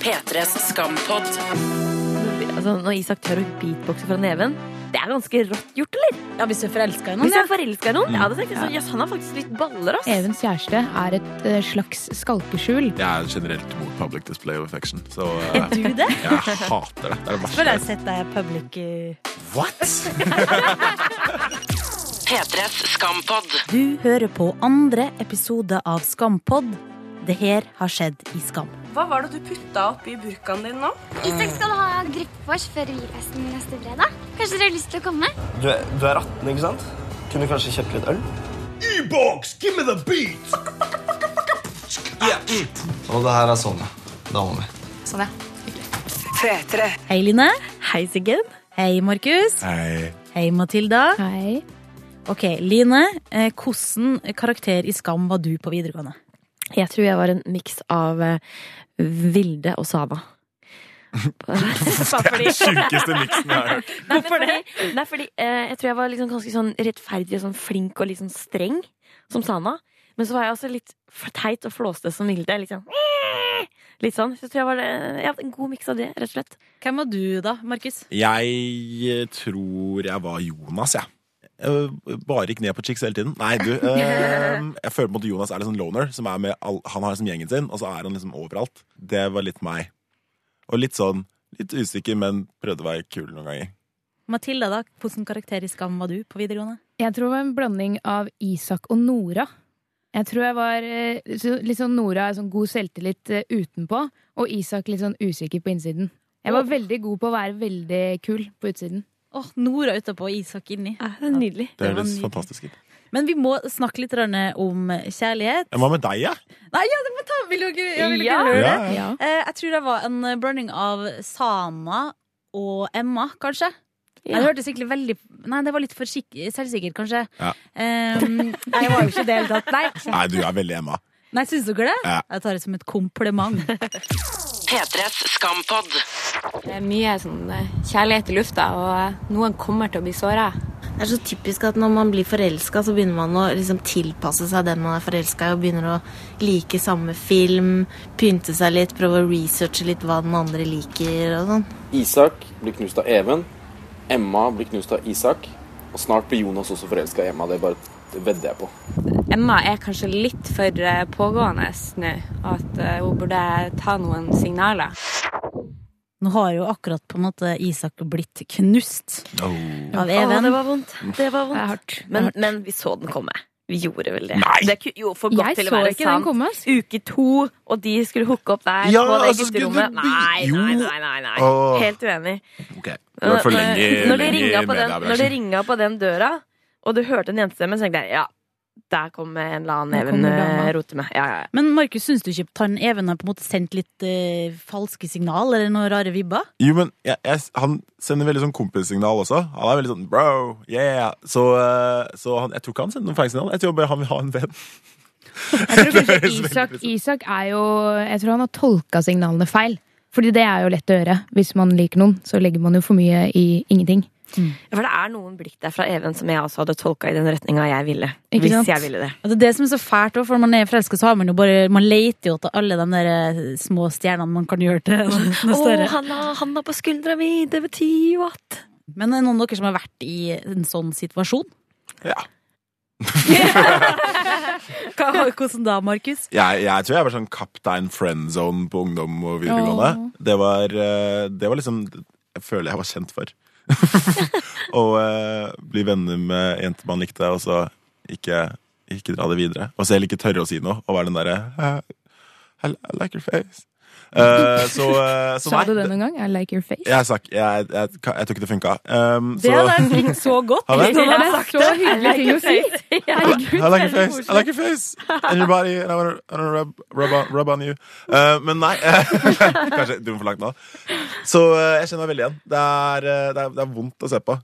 P3s skampott. Altså, når Isak tør å beatboxe fra neven, det er ganske rått gjort, eller? Ja, hvis du er forelska i noen, Hvis ja. jeg er forelska i noen, ja, da tenker jeg sånn, jøss, han har faktisk litt baller, ass. Evens kjæreste er et eh, slags skalkeskjul. Jeg er generelt mot public display of affection, så eh, Du det? jeg hater det. Det er det verste. Føler jeg har sett deg i public eh, What?! P3s skampott. Du hører på andre episode av Skampodd. Det her har skjedd i Skam. Hva var det du putta oppi burkaen din nå? Isak skal ha gruppevors før julefesten neste fredag. Kanskje dere har lyst til å komme? Du er, du er 18, ikke sant? Kunne du kanskje kjøpt litt øl? Og det her er Sonja, dama mi. Hei, Line. Hei, Siggen. Hei, Markus. Nei. Hei, Matilda. Hei. Ok, Line. eh, Hvordan karakter i Skam var du på videregående? Jeg tror jeg var en miks av eh, Vilde og Sava. Bare fordi Sjukeste miksen jeg har hørt. Nei, men fordi, nei, fordi eh, jeg tror jeg var liksom ganske sånn rettferdig og sånn flink og litt sånn streng, som Sana. Men så var jeg også litt f- teit og flåste som Vilde. Litt sånn, litt sånn. Så jeg tror jeg var eh, jeg hadde en god miks av det, rett og slett. Hvem var du, da, Markus? Jeg eh, tror jeg var Jonas, jeg. Eh, Bare gikk ned på chicks hele tiden. Nei, du. eh, jeg føler på en måte Jonas er litt sånn loner. Som er med all, han har liksom gjengen sin, og så er han liksom overalt. Det var litt meg. Og litt sånn litt usikker, men prøvde å være kul noen ganger. Matilda, da. Hvordan karakter i Skam var du på videregående? Jeg tror det var en blanding av Isak og Nora. Jeg tror jeg var eh, så- litt sånn Nora er sånn god selvtillit eh, utenpå, og Isak litt sånn usikker på innsiden. Jeg var veldig god på å være veldig kul på utsiden. Åh, Nora utapå og Isak inni. det er nydelig. Det Det var høres nydelig. fantastisk ut. Men vi må snakke litt grann om kjærlighet. Ja, Hva med deg, ja? Nei, ja, det må ta, vil du ikke, jeg vil ikke Ja. høre det? Ja. Ja. Eh, jeg tror det var en eh, blanding av Sana og Emma, kanskje. Ja. Det hørtes egentlig veldig Nei, det var litt for skik- selvsikkert, kanskje. Ja. Eh, nei, jeg var jo ikke det i det hele tatt. Nei. Nei, du er veldig Emma. nei, syns dere det? Ja. Jeg tar det som et kompliment. P3s skampott. Det er mye sånn eh, kjærlighet i lufta, og eh, noen kommer til å bli såra. Det er så typisk at når man blir forelska, så begynner man å liksom tilpasse seg den man er forelska i, og begynner å like samme film, pynte seg litt, prøve å researche litt hva den andre liker og sånn. Isak blir knust av Even. Emma blir knust av Isak. Og snart blir Jonas også forelska i Emma. Det bare vedder jeg på. Emma er kanskje litt for eh, pågående nå, at eh, hun burde ta noen signaler. Nå har jo akkurat på en måte Isak blitt knust av Å, det Even. var vondt. Det Det var er vondt. hardt. Men, men vi så den komme. Vi gjorde vel det. Nei. det er ku- jo, for godt Jeg til å så være ikke den sant. komme, ass. Uke to, og de skulle hooke opp der. Ja, på det altså, skulle gutterommet. du bli- Nei, Jo. nei, nei. nei, nei. Åh. Helt uenig. Ok. Det var for lenge, når, de lenge i ringa på den, når de mediebransjen. ringa på den døra, og du hørte en jentestemme, så tenkte jeg ja, der kommer en eller annen Der Even kommer dama. eh, roter med. Ja, ja, ja. Men Markus, syns du ikke at han Even har på en måte sendt litt eh, falske signal, eller noen rare vibber? Jo, men jeg, jeg, han sender veldig sånn kompissignal også. Han er veldig sånn bro, yeah. Så, eh, så han, jeg tror ikke han sender noen feil signal. Jeg tror bare han vil ha en venn. Jeg tror Det kanskje høres veldig Isak, ut som- Isak er jo Jeg tror han har tolka signalene feil. Fordi det er jo lett å gjøre. Hvis man liker noen, så legger man jo for mye i ingenting. For det er noen blikk der fra Even som jeg også hadde tolka i den retninga jeg ville. Ikke hvis sant? jeg ville det. Ja, Altså, Det er det som er så fælt, også, for når man er forelska, så har man jo bare Man leter jo etter alle de der eh, små stjernene man kan gjøre til noe Å, større. han har handa på skuldra mi! Det betyr jo at Men er det noen av dere som har vært i en sånn situasjon? Ja. Hva, hvordan da, Markus? Jeg, jeg tror jeg var sånn kaptein friendzone på ungdom og videregående. Det, var, eh, det var liksom Jeg føler jeg var kjent for. Å eh, bli venner med jenter man likte, og så ikke, ikke dra det videre. Og så heller ikke tørre å si noe, og være den derre eh, I, I like your face. Eh, så, eh, så Sa nei. du det det- noen gang? I like your face. Jeg, sak, jeg, jeg, jeg, tror ikke det funka. Um, Det hadde jeg likt så godt. Har jeg? hvis noen Det hadde er sagt så hyggelig ting å si! I like your face. I like your face. And your body. And I wanna, I wanna rub, rub, on, rub on you. Eh, men nei. Kanskje du må for langt nå. Så eh, jeg kjenner meg veldig igjen. Det er, eh, det, er, det er vondt å se på.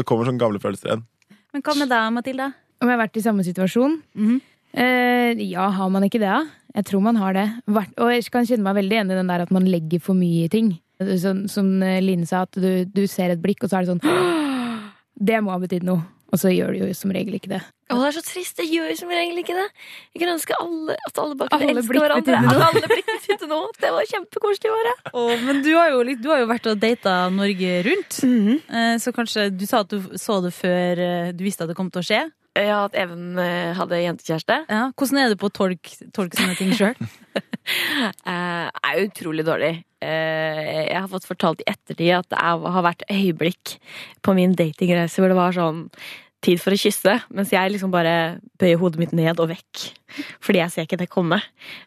Det kommer sånne gamle følelser igjen. Men hva med deg, Matilda? Om jeg har vært i samme situasjon? Mhm. eh, ja, har man ikke det, da? Jeg tror man har det. Vært, og jeg kan kjenne meg veldig igjen i den der at man legger for mye i ting. Sånn, som eh, Line sa, at du, du ser et blikk, og så er det sånn Det må ha betydd noe. Og så gjør de jo som regel ikke det. Å, det er så trist. Det gjør jo som regel ikke det. Jeg kunne ønske alle, at alle bare kunne Alle elske blikk hverandre. betyr noe. At alle blikk betydde noe. Det var kjempekoselig å være. Å, men du har, jo, litt- du har jo vært og data Norge rundt. Eh, Så kanskje du sa at du så det før eh, du visste at det kom til å skje. Ja, at Even eh, hadde jentekjæreste. Ja. Hvordan er det på å tolke, tolke sånne ting sjøl? Eh, er utrolig dårlig. Eh, jeg har fått fortalt i ettertid at det er, har vært øyeblikk på min datingreise hvor det var sånn tid for å kysse, mens jeg liksom bare bøyer hodet mitt ned og vekk. Fordi jeg ser ikke det komme.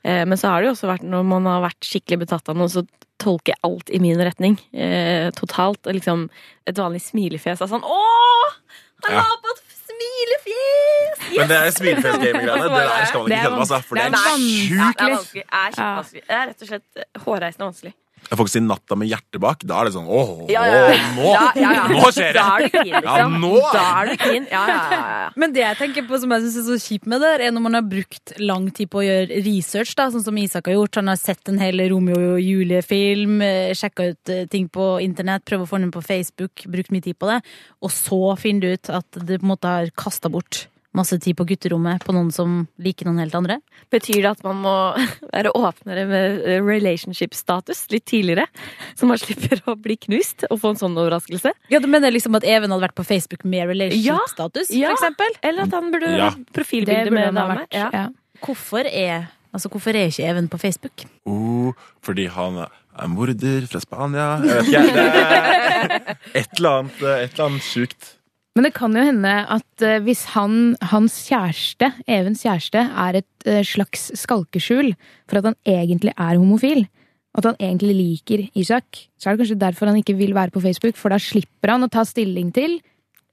Eh, men så har det jo også vært når man har vært skikkelig betatt av noe, så tolker jeg alt i min retning. Eh, totalt. Og liksom et vanlig smilefjes er sånn Åh! Han Ja. har på et smilefjes! Men det er smilefjes-gaming-greiene. Det der skal man Det ikke er kødde med, altså. For det er Ja, sjukt. det er vanskelig. Det er kjempevanskelig. Det er rett og slett hårreisende vanskelig. Jeg får ikke si 'natta med hjertet bak'. Da er det sånn åh, Ja, ja, ja. nå, Da- ja, ja. nå skjer det! Da er du keen, liksom. Ja, nå er Da er du keen. Ja, ja, ja, ja. Men det jeg tenker på som jeg synes er så kjipt med det, her, er når man har brukt lang tid på å gjøre research, da, sånn som Isak har gjort. Han har sett en hel Romeo og Julie-film, eh, sjekka ut eh, ting på internett, prøvd å få den på Facebook, brukt mye tid på det. Og så finner du ut at du på en måte har kasta bort masse tid på gutterommet på noen som liker noen helt andre. Betyr det at man må være åpnere med eh, relationship-status litt tidligere? Så man slipper å bli knust og få en sånn overraskelse? Ja, Du mener liksom at Even hadde vært på Facebook med relationship-status, Ja, for eksempel? Eller at han burde Ja. Det profilbilde burde med han ha dame? vært. Ja. Ja. Hvorfor er, altså, hvorfor er ikke Even på Facebook? Oh, fordi han er morder fra Spania Jeg vet ikke. Det er et eller annet, eh, et eller annet sjukt. Men det kan jo hende at eh, hvis han, hans kjæreste, Evens kjæreste, er et eh, slags skalkeskjul for at han egentlig er homofil, at han egentlig liker Isak, så er det kanskje derfor han ikke vil være på Facebook, for da slipper han å ta stilling til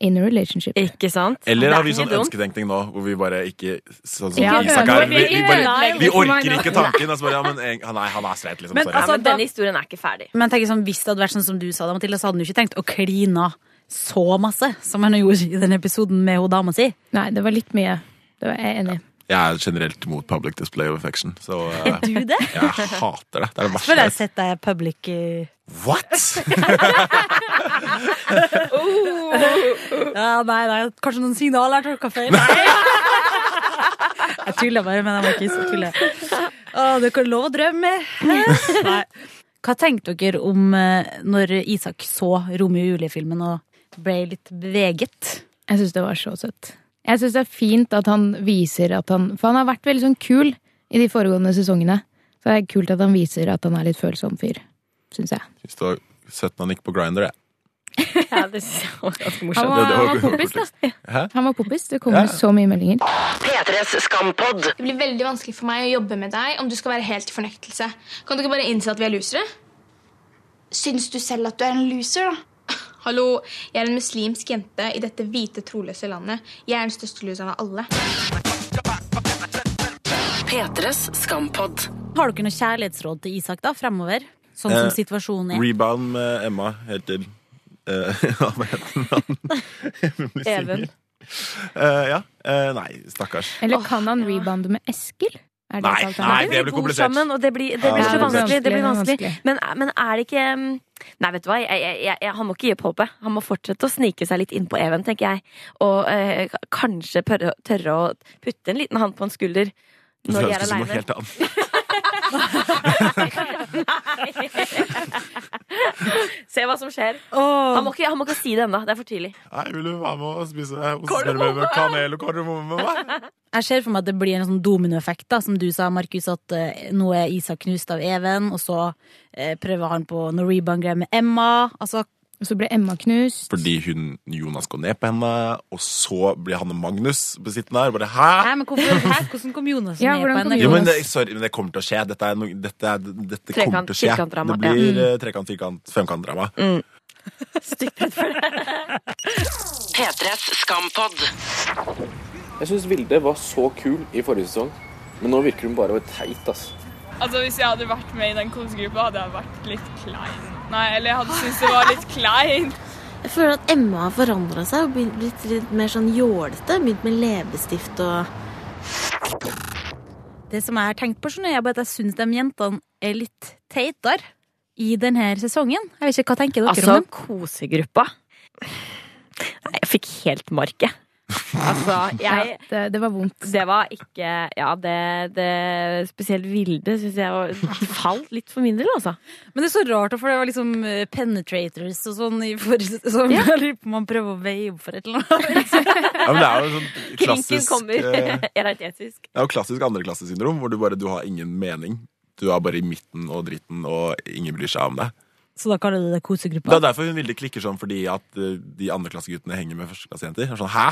in a relationship. Ikke sant? Eller Det er har vi ikke sånn dumt. ønsketenkning nå, hvor vi bare ikke Sånn som Ja, Isak men- er. Vi, vi, bare, Nei, vi orker ikke tanken. Altså bare, ja, men, en- nei, han er streit, liksom. Men Sorry. Ja, altså, men da- denne historien er ikke ferdig. Men jeg tenker sånn, hvis det hadde vært sånn som du sa, da, Mathilde, så hadde han jo ikke tenkt å kline så masse som han gjorde i den episoden med hun dama si. Nei, det var litt mye. Det var jeg enig i. Jeg er generelt mot public display of affection, så eh, Du det? jeg hater det. Det er det verste. Føler jeg jeg har vet. sett deg i public eh, What?! Ja, nei, nei, kanskje noen signaler jeg tolka feil. Nei. Jeg tuller bare, men jeg må ikke så tulle. Å, du kan lov å drømme. Nei. Hva tenkte dere om eh, når Isak så Romeo og Julie-filmen og ble litt beveget? Jeg syns det var så søtt. Jeg syns det er fint at han viser at han For han har vært veldig sånn kul i de foregående sesongene. Så det er kult at han viser at han er litt følsom fyr, syns jeg. Synes det var søtt når han gikk på Grinder, jeg. Ja, det synes jeg var ganske morsomt. Han det- var, det var- han var poppis, da. Hæ? Han var poppis. Det kommer Ja. så mye meldinger. P3s skampodd. Det blir veldig vanskelig for meg å jobbe med deg om du skal være helt i fornektelse. Kan du ikke bare innse at vi er losere? Syns du selv at du er en loser, da? Hallo, jeg er en muslimsk jente i dette hvite, troløse landet. Jeg er den største loseren av alle. P3s skampodd. Har dere noe kjærlighetsråd til Isak da, fremover? Sånn som Eh, situasjonen er. Rebound med Emma heter eh, ja, Hva heter han? Hun blir singel. Even. Eh, ja. Eh, nei, stakkars. Eller kan han rebounder med Eskil? Er Nei, et nei, alternativ? det blir bor komplisert. Sammen, og det blir, det blir Ja, så det blir vanskelig. Det blir vanskelig, det er vanskelig. vanskelig. Men, eh, men er det ikke um, Nei, vet du hva. Jeg, jeg, jeg, jeg, han må ikke gi opp håpet. Han må fortsette å snike seg litt innpå Even, tenker jeg. Og eh, k- kanskje pørre, tørre å putte en liten hånd på en skulder når de er Ønskes noe aleine. helt annet. Se hva som skjer. Han, må ikke, han må ikke si det ennå. Det er for tidlig. Nei, vil du være med og spise ostesmørbrød med kanel og kardemomme med meg? Jeg ser for meg at det blir en sånn dominoeffekt, da, som du sa, Markus, at eh, nå er Isak knust av Even, og så eh, prøver han på noe rebound-greier med Emma. Altså, Og så ble Emma knust. Fordi hun, Jonas går ned på henne, og så blir han og Magnus besittende her. Bare, Hæ? hæ, men hvorfor, hæ, hvordan kom Jonas Ja, ned hvordan på kom henne? Jo, men Jonas. det, sorry, men det kommer til å skje. Dette, er noe- dette, er- dette Trekant- kommer til å skje. firkantdrama, Det blir eh, trekant, firkant, femkantdrama. P3s skampodd. Jeg syns Vilde var så kul i forrige sesong, men nå virker hun bare teit, ass. Altså, Hvis jeg hadde vært med i den kosegruppa, hadde jeg vært litt klein. Nei, eller jeg hadde syntes det var litt klein. Jeg føler at Emma har forandra seg og begynt- blitt litt mer sånn jålete. Begynt med leppestift og Det som jeg har tenkt på, skjønner jeg, er bare at jeg syns de jentene er litt teitere i denne sesongen. Jeg vet ikke, Hva tenker dere Altså, om dem? kosegruppa. Jeg fikk helt mark, jeg. Altså, jeg det, var vondt. Det var ikke Ja, det, det spesielt Vilde syns jeg var det falt litt for min del, altså. Men det er så rart, for det var liksom eh, penetrators og sånn i for, som Ja. jeg lurer på om man prøver å veie opp for et eller annet. Ja, men det er jo sånn Klinken klassisk kommer eh, eretetisk. Det er jo klassisk andreklassesyndrom, hvor du bare du har ingen mening. Du er bare i midten og dritten, og ingen bryr seg om deg. Så da kaller du det kosegruppa? Det er derfor hun Vilde klikker sånn, fordi at eh, de andreklasseguttene henger med førsteklassejenter. Det er Sånn, Hæ?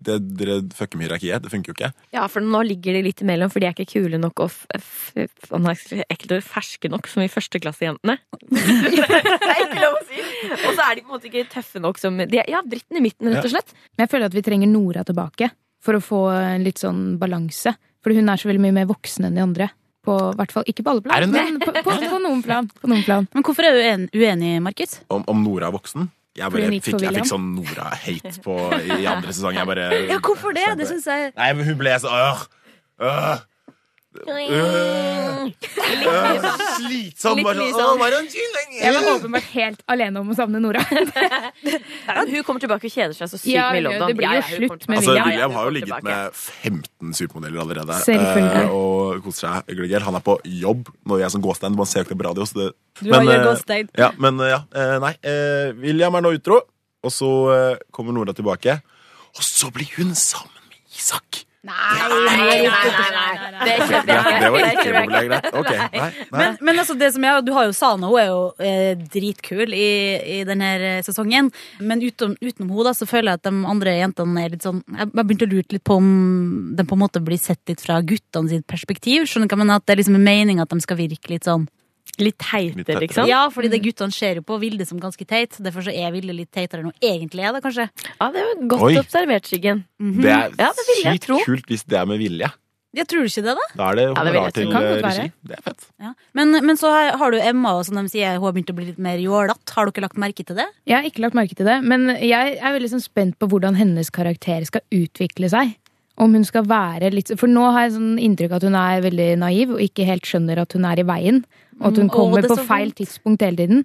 Det, dere fucker med hierarkiet. Det funker jo ikke. Ja, for nå ligger de litt imellom, for de er ikke kule nok og f f f nå er jeg ekkelt ord, ferske nok som i førsteklassejentene. det er ikke lov å si! Og så er de på en måte ikke tøffe nok som de er, Ja, dritten i midten, rett og slett. Men jeg føler at vi trenger Nora tilbake for å få en litt sånn balanse. Fordi hun er så veldig mye mer voksen enn de andre. På hvert fall, Ikke på alle Er plan, hun det? men på, på, på, noen plan, på noen plan. Men hvorfor er du uenig, Markus? Om, om Nora er voksen jeg, Fordi bare, hun gikk for fikk, jeg fikk sånn William. Nora-hate på i, i andre sesong. Jeg bare Ja, hvorfor det? Det syns jeg Nei, men hun ble så øh, øh, øh, øh, Slitsom. sånn. Litt Bare sånn mye «Åh, sånn. bare en tynn lenge!» Jeg var åpenbart helt alene om å savne Nora. hun kommer tilbake og kjeder seg så sykt Ja, mye i London. det blir jo Ja, ja, hun slutt kommer med Altså, tilbake. William. William har jo ligget med 15 supermodeller allerede. Selvfølgelig. eh, og koser seg gløgg. Han er på jobb når jeg er som gåstein. Man ser jo ikke det på radio. Så det, Du har jo eh, gåstein. Ja, men eh, ja. eh, Nei. eh, William er nå utro, og så eh, kommer Nora tilbake. Og så blir hun sammen med Isak! Nei, Det kjøper jeg ikke. Det var ikke populært, greit. Ok, nei, nei. Men, men altså det som er, du har jo Sana, hun er jo eh, dritkul i, i denne sesongen. Men utenom, utenom hun da, så føler jeg at de andre jentene er litt sånn Jeg jeg begynte å lure litt på om de på en måte blir sett litt fra guttene sitt perspektiv. Skjønner du hva jeg mener? At det er liksom en mening at de skal virke litt sånn Litt teite, liksom? Ja, fordi det guttene ser jo på Vilde som ganske teit. Derfor så er Vilde litt teitere enn hun egentlig er, da, kanskje. Ja, det var godt Oi. observert, Siggen. Det er ja, det ville jeg sykt tro. kult hvis det er med vilje. Jeg tror du ikke det, da? Da er det Ja, det vil honorar jeg tro. til Kan godt eh, være. regi. Det er fett. Men, men så har har du Emma, og som de sier, hun har begynt å bli litt mer jålete. Har dere lagt merke til det? Jeg har ikke lagt merke til det, men jeg er veldig sånn spent på hvordan hennes karakter skal utvikle seg. Om hun skal være litt For nå har jeg sånn inntrykk at hun er veldig naiv og ikke helt skjønner at hun er i veien. Og at Mm, hun å, kommer det er på så feil vondt. tidspunkt hele tiden.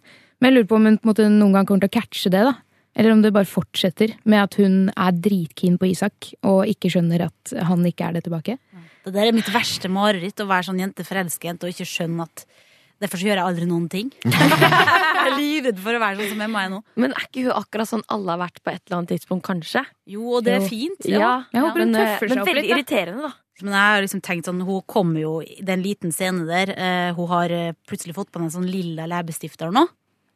Men jeg lurer på om hun på en måte noen gang kommer til å catche det. da Eller om det bare fortsetter med at hun er dritkeen på Isak og ikke skjønner at han ikke er det tilbake. Det der er mitt verste mareritt, å være sånn jente forelska jente og ikke skjønne at Derfor så gjør jeg aldri noen ting. jeg er livredd for å være sånn som Emma er nå. Men er ikke hun akkurat sånn alle har vært på et eller annet tidspunkt, kanskje? Jo, og det er fint. Ja, Jeg håper hun men, eh, tøffer seg men opp veldig litt, da. irriterende, da. Men jeg har liksom tenkt sånn, hun kommer jo i den liten scenen der. eh, hun har eh, plutselig fått på en sånn lilla leppestifter nå.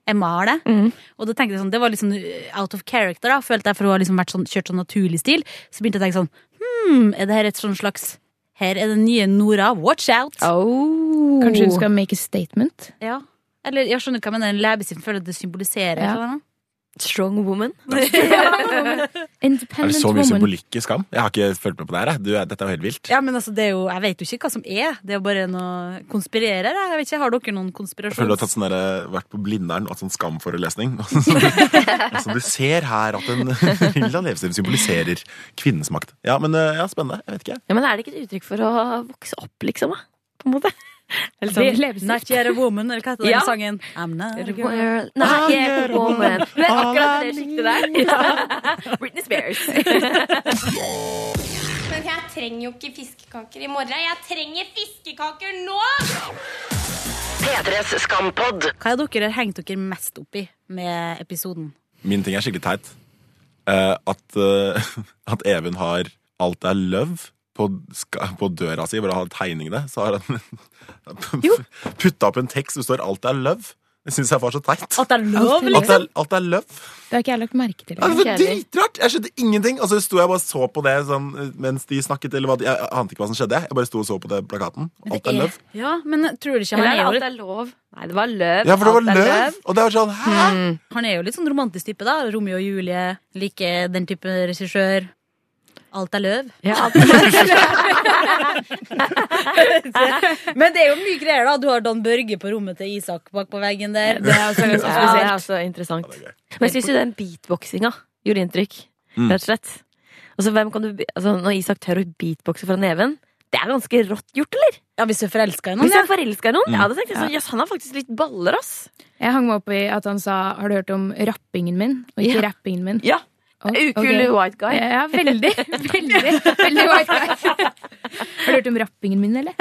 Emma har det. Mm. Og da tenkte jeg sånn, det var liksom eh, out of character, da, følte jeg, for hun har liksom vært sånn, kjørt sånn naturlig stil. Så begynte jeg å tenke sånn, hmm, er det her et sånn slags Her er den nye Nora, watch out! Oh. Kanskje hun skal make a statement? Ja. Eller jeg skjønner hva jeg mener, en leppestift føler at det symboliserer. Ja. eller noe. Strong woman. Er det Independent så mye woman. symbolikk i Skam? Jeg har ikke fulgt med på det her. jeg. Du, dette er jo helt vilt. Ja, men altså, det er jo, Jeg vet jo ikke hva som er. Det er jo bare noe konspirerer. Jeg vet ikke, Har dere noen Jeg føler du har konspirasjons... tatt sånn der, vært på Blindern og hatt sånn skamforelesning. altså, du ser her at en lilla leppestift symboliserer kvinnens makt. Ja, men eh, ja, spennende. Jeg vet ikke. Ja, men er det ikke et uttrykk for å vokse opp, liksom? Da? På en måte. Eller sånn- Not yet a woman, eller hva heter den Ja. sangen? I'm not a girl. Girl, Not yet a woman. Det er akkurat det sjiktet der. Ja. Britney Spears. Men jeg trenger jo ikke fiskekaker i morgen. Jeg trenger fiskekaker nå! P3s Skampod. Hva er dere har hengt dere mest opp i med episoden? Min ting er skikkelig teit. Eh, at, eh, at Even har Alt er løv på, ska- på døra si, hvor han har tegning det. Så har han putta opp en tekst hvor det står 'Alt er løv'. Det syns jeg var så teit. At det er lov, Alt liksom? er, alt er løv. Det har ikke jeg lagt merke til. Ja, det var egentlig. dritrart! Jeg skjønte ingenting. Og så sto jeg bare og så på det sånn, mens de snakket. Eller hva, de- jeg ante ikke hva som skjedde. Jeg bare sto og så på det plakaten. Alt er løv. Ja, men tror du ikke Eller han er er det alt jo, er lov? Nei, det var løv. Hmm. Ja, for det var Alt er løv! Og det var sånn Hæ? han er jo litt sånn romantisk type, da. Romeo og Julie, liker den type regissør. Alt er løv. Ja, alt er løv. Men det er jo mye greier, da. Du har Dan Børge på rommet til Isak bak på veggen der. Det er også ganske Ja, spesielt. det er også interessant. Men jeg syns jo den beatboxinga gjorde inntrykk. Mm. Rett og slett. Altså, hvem kan du, be- altså, når Isak tør å beatboxe fra neven Det er ganske rått gjort, eller? Ja, hvis du er forelska i noen, Hvis ja. jeg er forelska i Mm. noen? Mm, Ja, da tenkte jeg sånn, Ja. jøss, han har faktisk litt baller, ass. Jeg hang meg opp i at han sa 'har du hørt om rappingen min', og ikke Ja. rappingen min. Ja, Ukul Ok. white guy. Ja, veldig. Veldig, veldig white guy. Har du hørt om rappingen min, eller?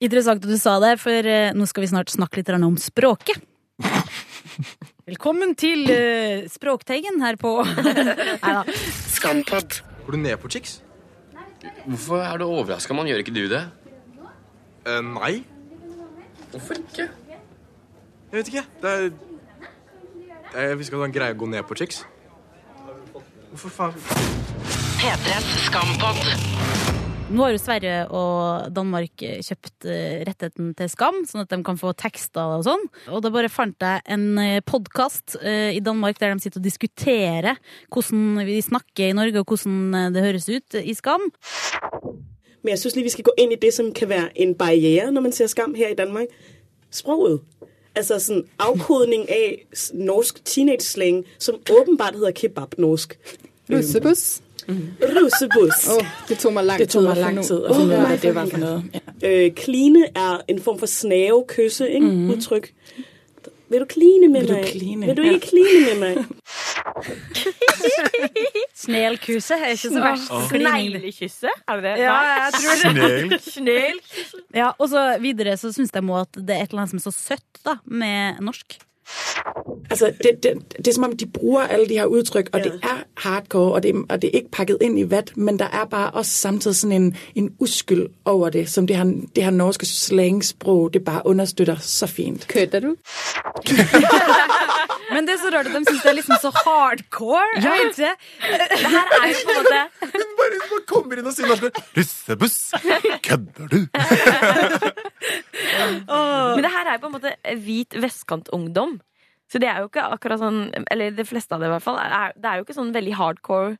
Interessant at du sa det, for eh, nå skal vi snart snakke litt grann om språket. Velkommen til eh, Språkteigen her på Neida. Skampod. Går du ned på chicks? Hvorfor er du overraska, man Gjør ikke du det? Eh, nei. Hvorfor ikke? Jeg vet ikke. Det er Jeg visste ikke at han greier å gå ned på chicks. Hvorfor faen? P3s Skampod. Nå har jo Sverige og Danmark eh, kjøpt eh, rettigheten til Skam, sånn at de kan få tekster og sånn. Og da bare fant jeg en podkast i Danmark der de sitter og diskuterer hvordan vi snakker i Norge, og hvordan eh, det høres ut i Skam. Men jeg synes lige, vi skal gå ind i det, som kan være en barriere, når man ser skam her i Danmark. Sproget. Altså sådan afkodning af s- norsk teenage-slang, som åbenbart hedder kebab-norsk. Russebus. Russebus. Åh, det tog mig lang det tog tid mig at lang finde ud- tid at Åh, finde ud af, nej, hvad det for var for helvede. noget. Øh, kline er en form for snave, kysse, ikke? Mhm. Udtryk. Mm-hmm. Vil du kline med Vil du mig? kline? Vil du Ja. ikke kline med mig? Snelkuse er ikke så verst. Åh. Klining. Sneglekysset? Er det det? Ja, Nei. jeg tror det. Snel. Ja, og så videre så syns de òg at det er et eller annet som er så søtt da, med norsk. Altså, det, det, det er som om, de bruger alle de her udtryk, og ja. det er hardcore, og det, er- og det er ikke pakket ind i vat, men der er bare også samtidig sådan en, en uskyld over det, som det her, det her norske slangsprog, det bare understøtter så fint. Kødder du? Men det er så rart at de syns det er liksom så hardcore. Ja. Jeg vet ikke. Det her er jo på en måte Bare kommer inn og sier norsk. Russebuss! Kødder du? Men det her er jo på en måte hvit vestkantungdom. Så det er jo ikke akkurat sånn Eller de fleste av det, i hvert fall. Er, det er jo ikke sånn veldig hardcore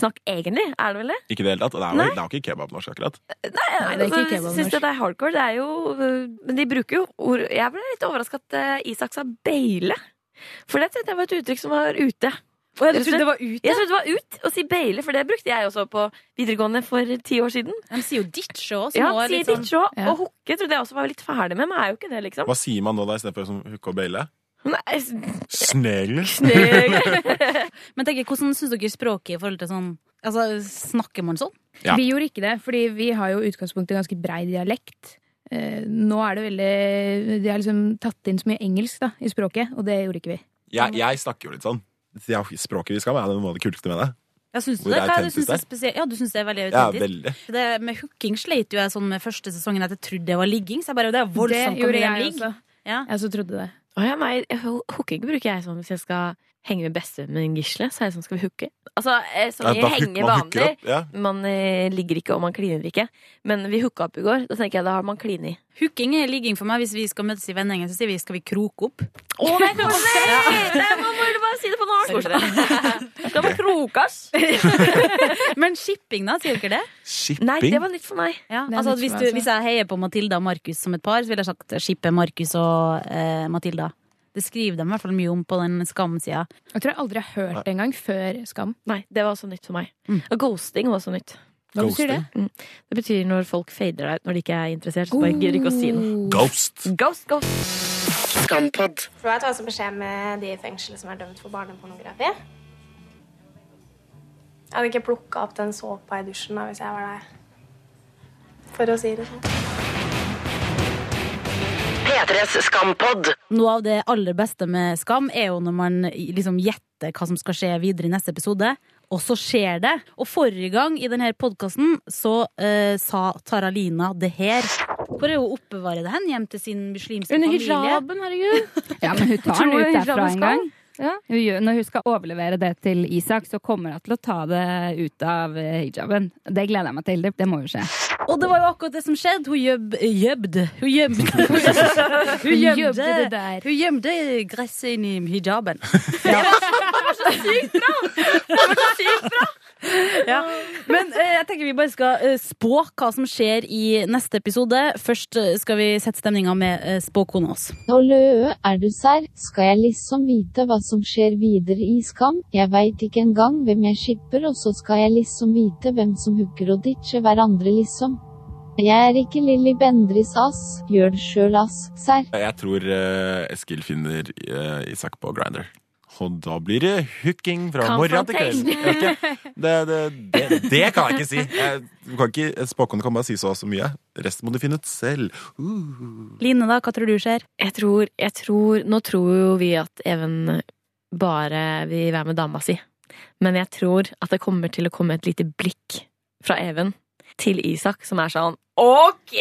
snakk, egentlig. Er det vel det? Ikke i det hele tatt. og Det er Nei. jo, det er jo ikke kebabnorsk, akkurat. Nei, det er ikke altså, kebabnorsk. Syns dette er hardcore. Det er jo øh, Men de bruker jo ord Jeg ble litt overraska at øh, Isak sa beile. For det tenkte jeg var et uttrykk som var ute. Og jeg trodde det var ute? Jeg trodde det var ut Å si beile, for det brukte jeg også på videregående for ti år siden. De sier jo ditche òg. sånn. Ja, sier sånn- ditche òg. Og hooke trodde jeg også var litt ferdig med, men er jo ikke det, liksom. Hva sier man nå da istedenfor som hooke og beile? Nei, s- Snegler. Men tenk, hvordan syns dere språket i forhold til sånn Altså, snakker man sånn? Ja. Vi gjorde ikke det, fordi vi har jo i utgangspunktet ganske brei dialekt. Eh, Nå er det veldig De har liksom tatt inn så mye engelsk da, i språket, og det gjorde ikke vi. Jeg, jeg snakker jo litt sånn. Det er jo Språket vi skal med, er noe av det kuleste med det. Ja, syns du Hvor det? er Hva er det du autentisk syns er der? spesielt? Ja, du syns det er veldig Ja, autentisk? Det med hooking sleit jo jeg sånn med første sesongen at jeg trodde det var ligging. Så jeg bare, det er voldsomt Det hvor mye gjorde de jeg ligger. også. Jeg også trodde det. Å ja, nei, ho- hooking bruker jeg sånn hvis jeg skal henge med bestevennen Gisle. Så er jeg sånn, skal vi hooke? Altså, eh, sånn Ja, i da hook- henge man hooker vanlig. opp, ja. Man eh, ligger ikke, og man kliner ikke. Men vi hooka opp i går. Da tenker jeg, da har man klini. Hooking er ligging for meg. Hvis vi skal møtes i vennegjengen, så sier vi skal vi kroke opp. Å, det er koselig! Det er- Man burde bare si det på norsk. Skal man krokes? Men shipping, da? Sier dere det? Shipping? Nei, det var nytt for meg. Ja, Det er altså, nytt hvis, for du, meg, hvis jeg heier på Matilda og Markus som et par, så ville jeg sagt shippe Markus og eh, Matilda. Det skriver de i hvert fall mye om på den skamsida. Jeg tror jeg aldri har hørt det engang før Skam. Nei, det var også nytt for meg. Mm. Og ghosting var også nytt. Hva betyr det? Mm. Det betyr når folk fader deg ut når de ikke er interessert. Så bare gidder ikke å si noe. Ghost. Ghost, ghost. Skampod. Tror jeg tar også beskjed med de i fengselet som er dømt for barnepornografi. Jeg hadde ikke plukka opp den såpa i dusjen da, hvis jeg var deg. For å si det sånn. P3s Skampod. Noe av det aller beste med Skam er jo når man liksom gjetter hva som skal skje videre i neste episode, og så skjer det. Og forrige gang i denne podkasten så eh, sa Taralina det her. Hvor er hun oppbevarer det hen? Hjem til sin muslimske Under familie? hijaben, herregud. Ja, men hun tar Tror den du ut derfra hijaben en skal? gang. Hun gjør- Når hun skal overlevere det til Isak, så kommer hun til å ta det ut av eh, hijaben. Det gleder jeg meg til. Det, det må jo skje. Og det var jo akkurat det som skjedde. Hun gjøb, gjøbde. Hun gjøbde. Hun gjøbde, Hun gjøbde det Hun gjemte gresset inni hijaben. Ja. Men eh, jeg tenker vi bare skal eh, spå hva som skjer i neste episode. Først eh, skal vi sette stemninga med eh, spåkona oss. Når Løø er du serr, skal jeg liksom vite hva som skjer videre i Skam. Jeg veit ikke engang hvem jeg shipper, og så skal jeg liksom vite hvem som hooker og ditcher hverandre, liksom. Jeg er ikke Lilly Bendris, ass. Gjør det sjøl, ass. Serr. Jeg tror eh, Eskil finner eh, Isak på Grinder. Og da blir det hooking fra morgen til kveld. Confrontation. Ja, ok. Det, det, det, det kan jeg ikke si! Jeg, du kan ikke, Spåkone kan bare si så og så mye. Resten må du finne ut selv. Uh. Line, da, hva tror du skjer? Jeg tror, jeg tror Nå tror jo vi at Even bare vil være med dama si. Men jeg tror at det kommer til å komme et lite blikk fra Even til Isak, som er sånn OK!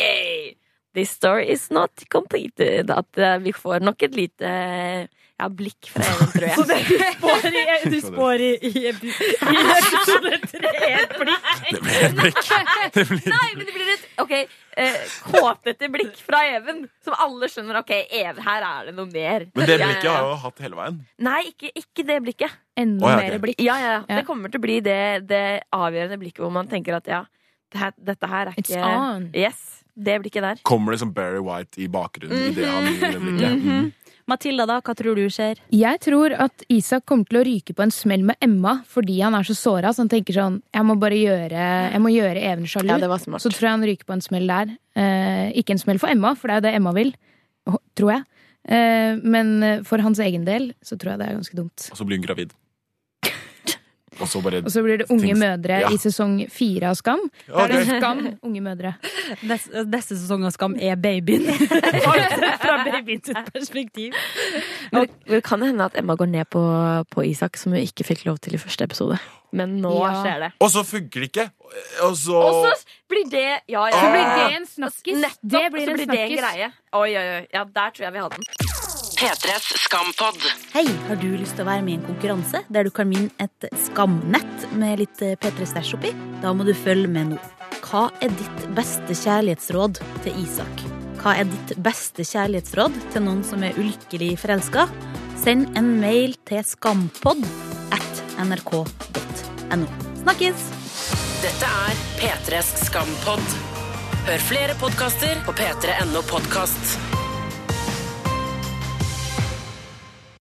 This story is not completed. At eh, vi får nok et lite ja, blikk fra Even, tror jeg. Så det du spår i, du spår i, i, epi- i episode tre, et blikk? Det blir et blikk. Det blir Nei, men det blir et ok, eh, kåtete blikk fra Even, som alle skjønner. Ok, Even, her er det noe mer. Men det Ja, blikket ja, har ja. jeg jo hatt hele veien. Nei, ikke, ikke det blikket. Enda Å, ja, mer ok. blikk. Ja, ja, ja. Det kommer til å bli det, det avgjørende blikket hvor man tenker at ja, det her, dette her er ikke It's on. Yes, det blikket der. Kommer det som Barry White i bakgrunnen i det han gir det blikket. Mhm. Matilda, da, hva tror du skjer? Jeg tror at Isak kommer til å ryke på en smell med Emma fordi han er så såra. Så han tenker sånn Jeg må bare gjøre Jeg må gjøre Even sjalu. Ja, det var smart. så tror jeg han ryker på en smell der. Eh, ikke en smell for Emma, for det er jo det Emma vil. Hå- Tror jeg. Eh, men eh, for hans egen del så tror jeg det er ganske dumt. Og så blir hun gravid. Og så bare Og så blir det unge ting- mødre Ja. i sesong fire av Skam. Da er det Skam, unge mødre. Neste, neste sesong av Skam er babyen. Fra babyens perspektiv. Men det kan jo hende at Emma går ned på, på Isak, som hun ikke fikk lov til i første episode. Men nå Ja. skjer det. Og så funker det ikke! Og så Og så blir det Ja, ja. Så blir det en snakkis. Nettopp, Det blir så en blir det en snakkis. greie. Oi, oi, oi. Ja, der tror jeg vi hadde den. P3s Skampod. Hei, har du lyst til å være med i en konkurranse der du kan vinne et skamnett med litt eh, P3-stæsj oppi? Da må du følge med nå. Hva er ditt beste kjærlighetsråd til Isak? Hva er ditt beste kjærlighetsråd til noen som er ulykkelig forelska? Send en mail til skampod at nrk.no. Snakkes! Dette er P3s Skampod. Hør flere podkaster på p3.no podkast.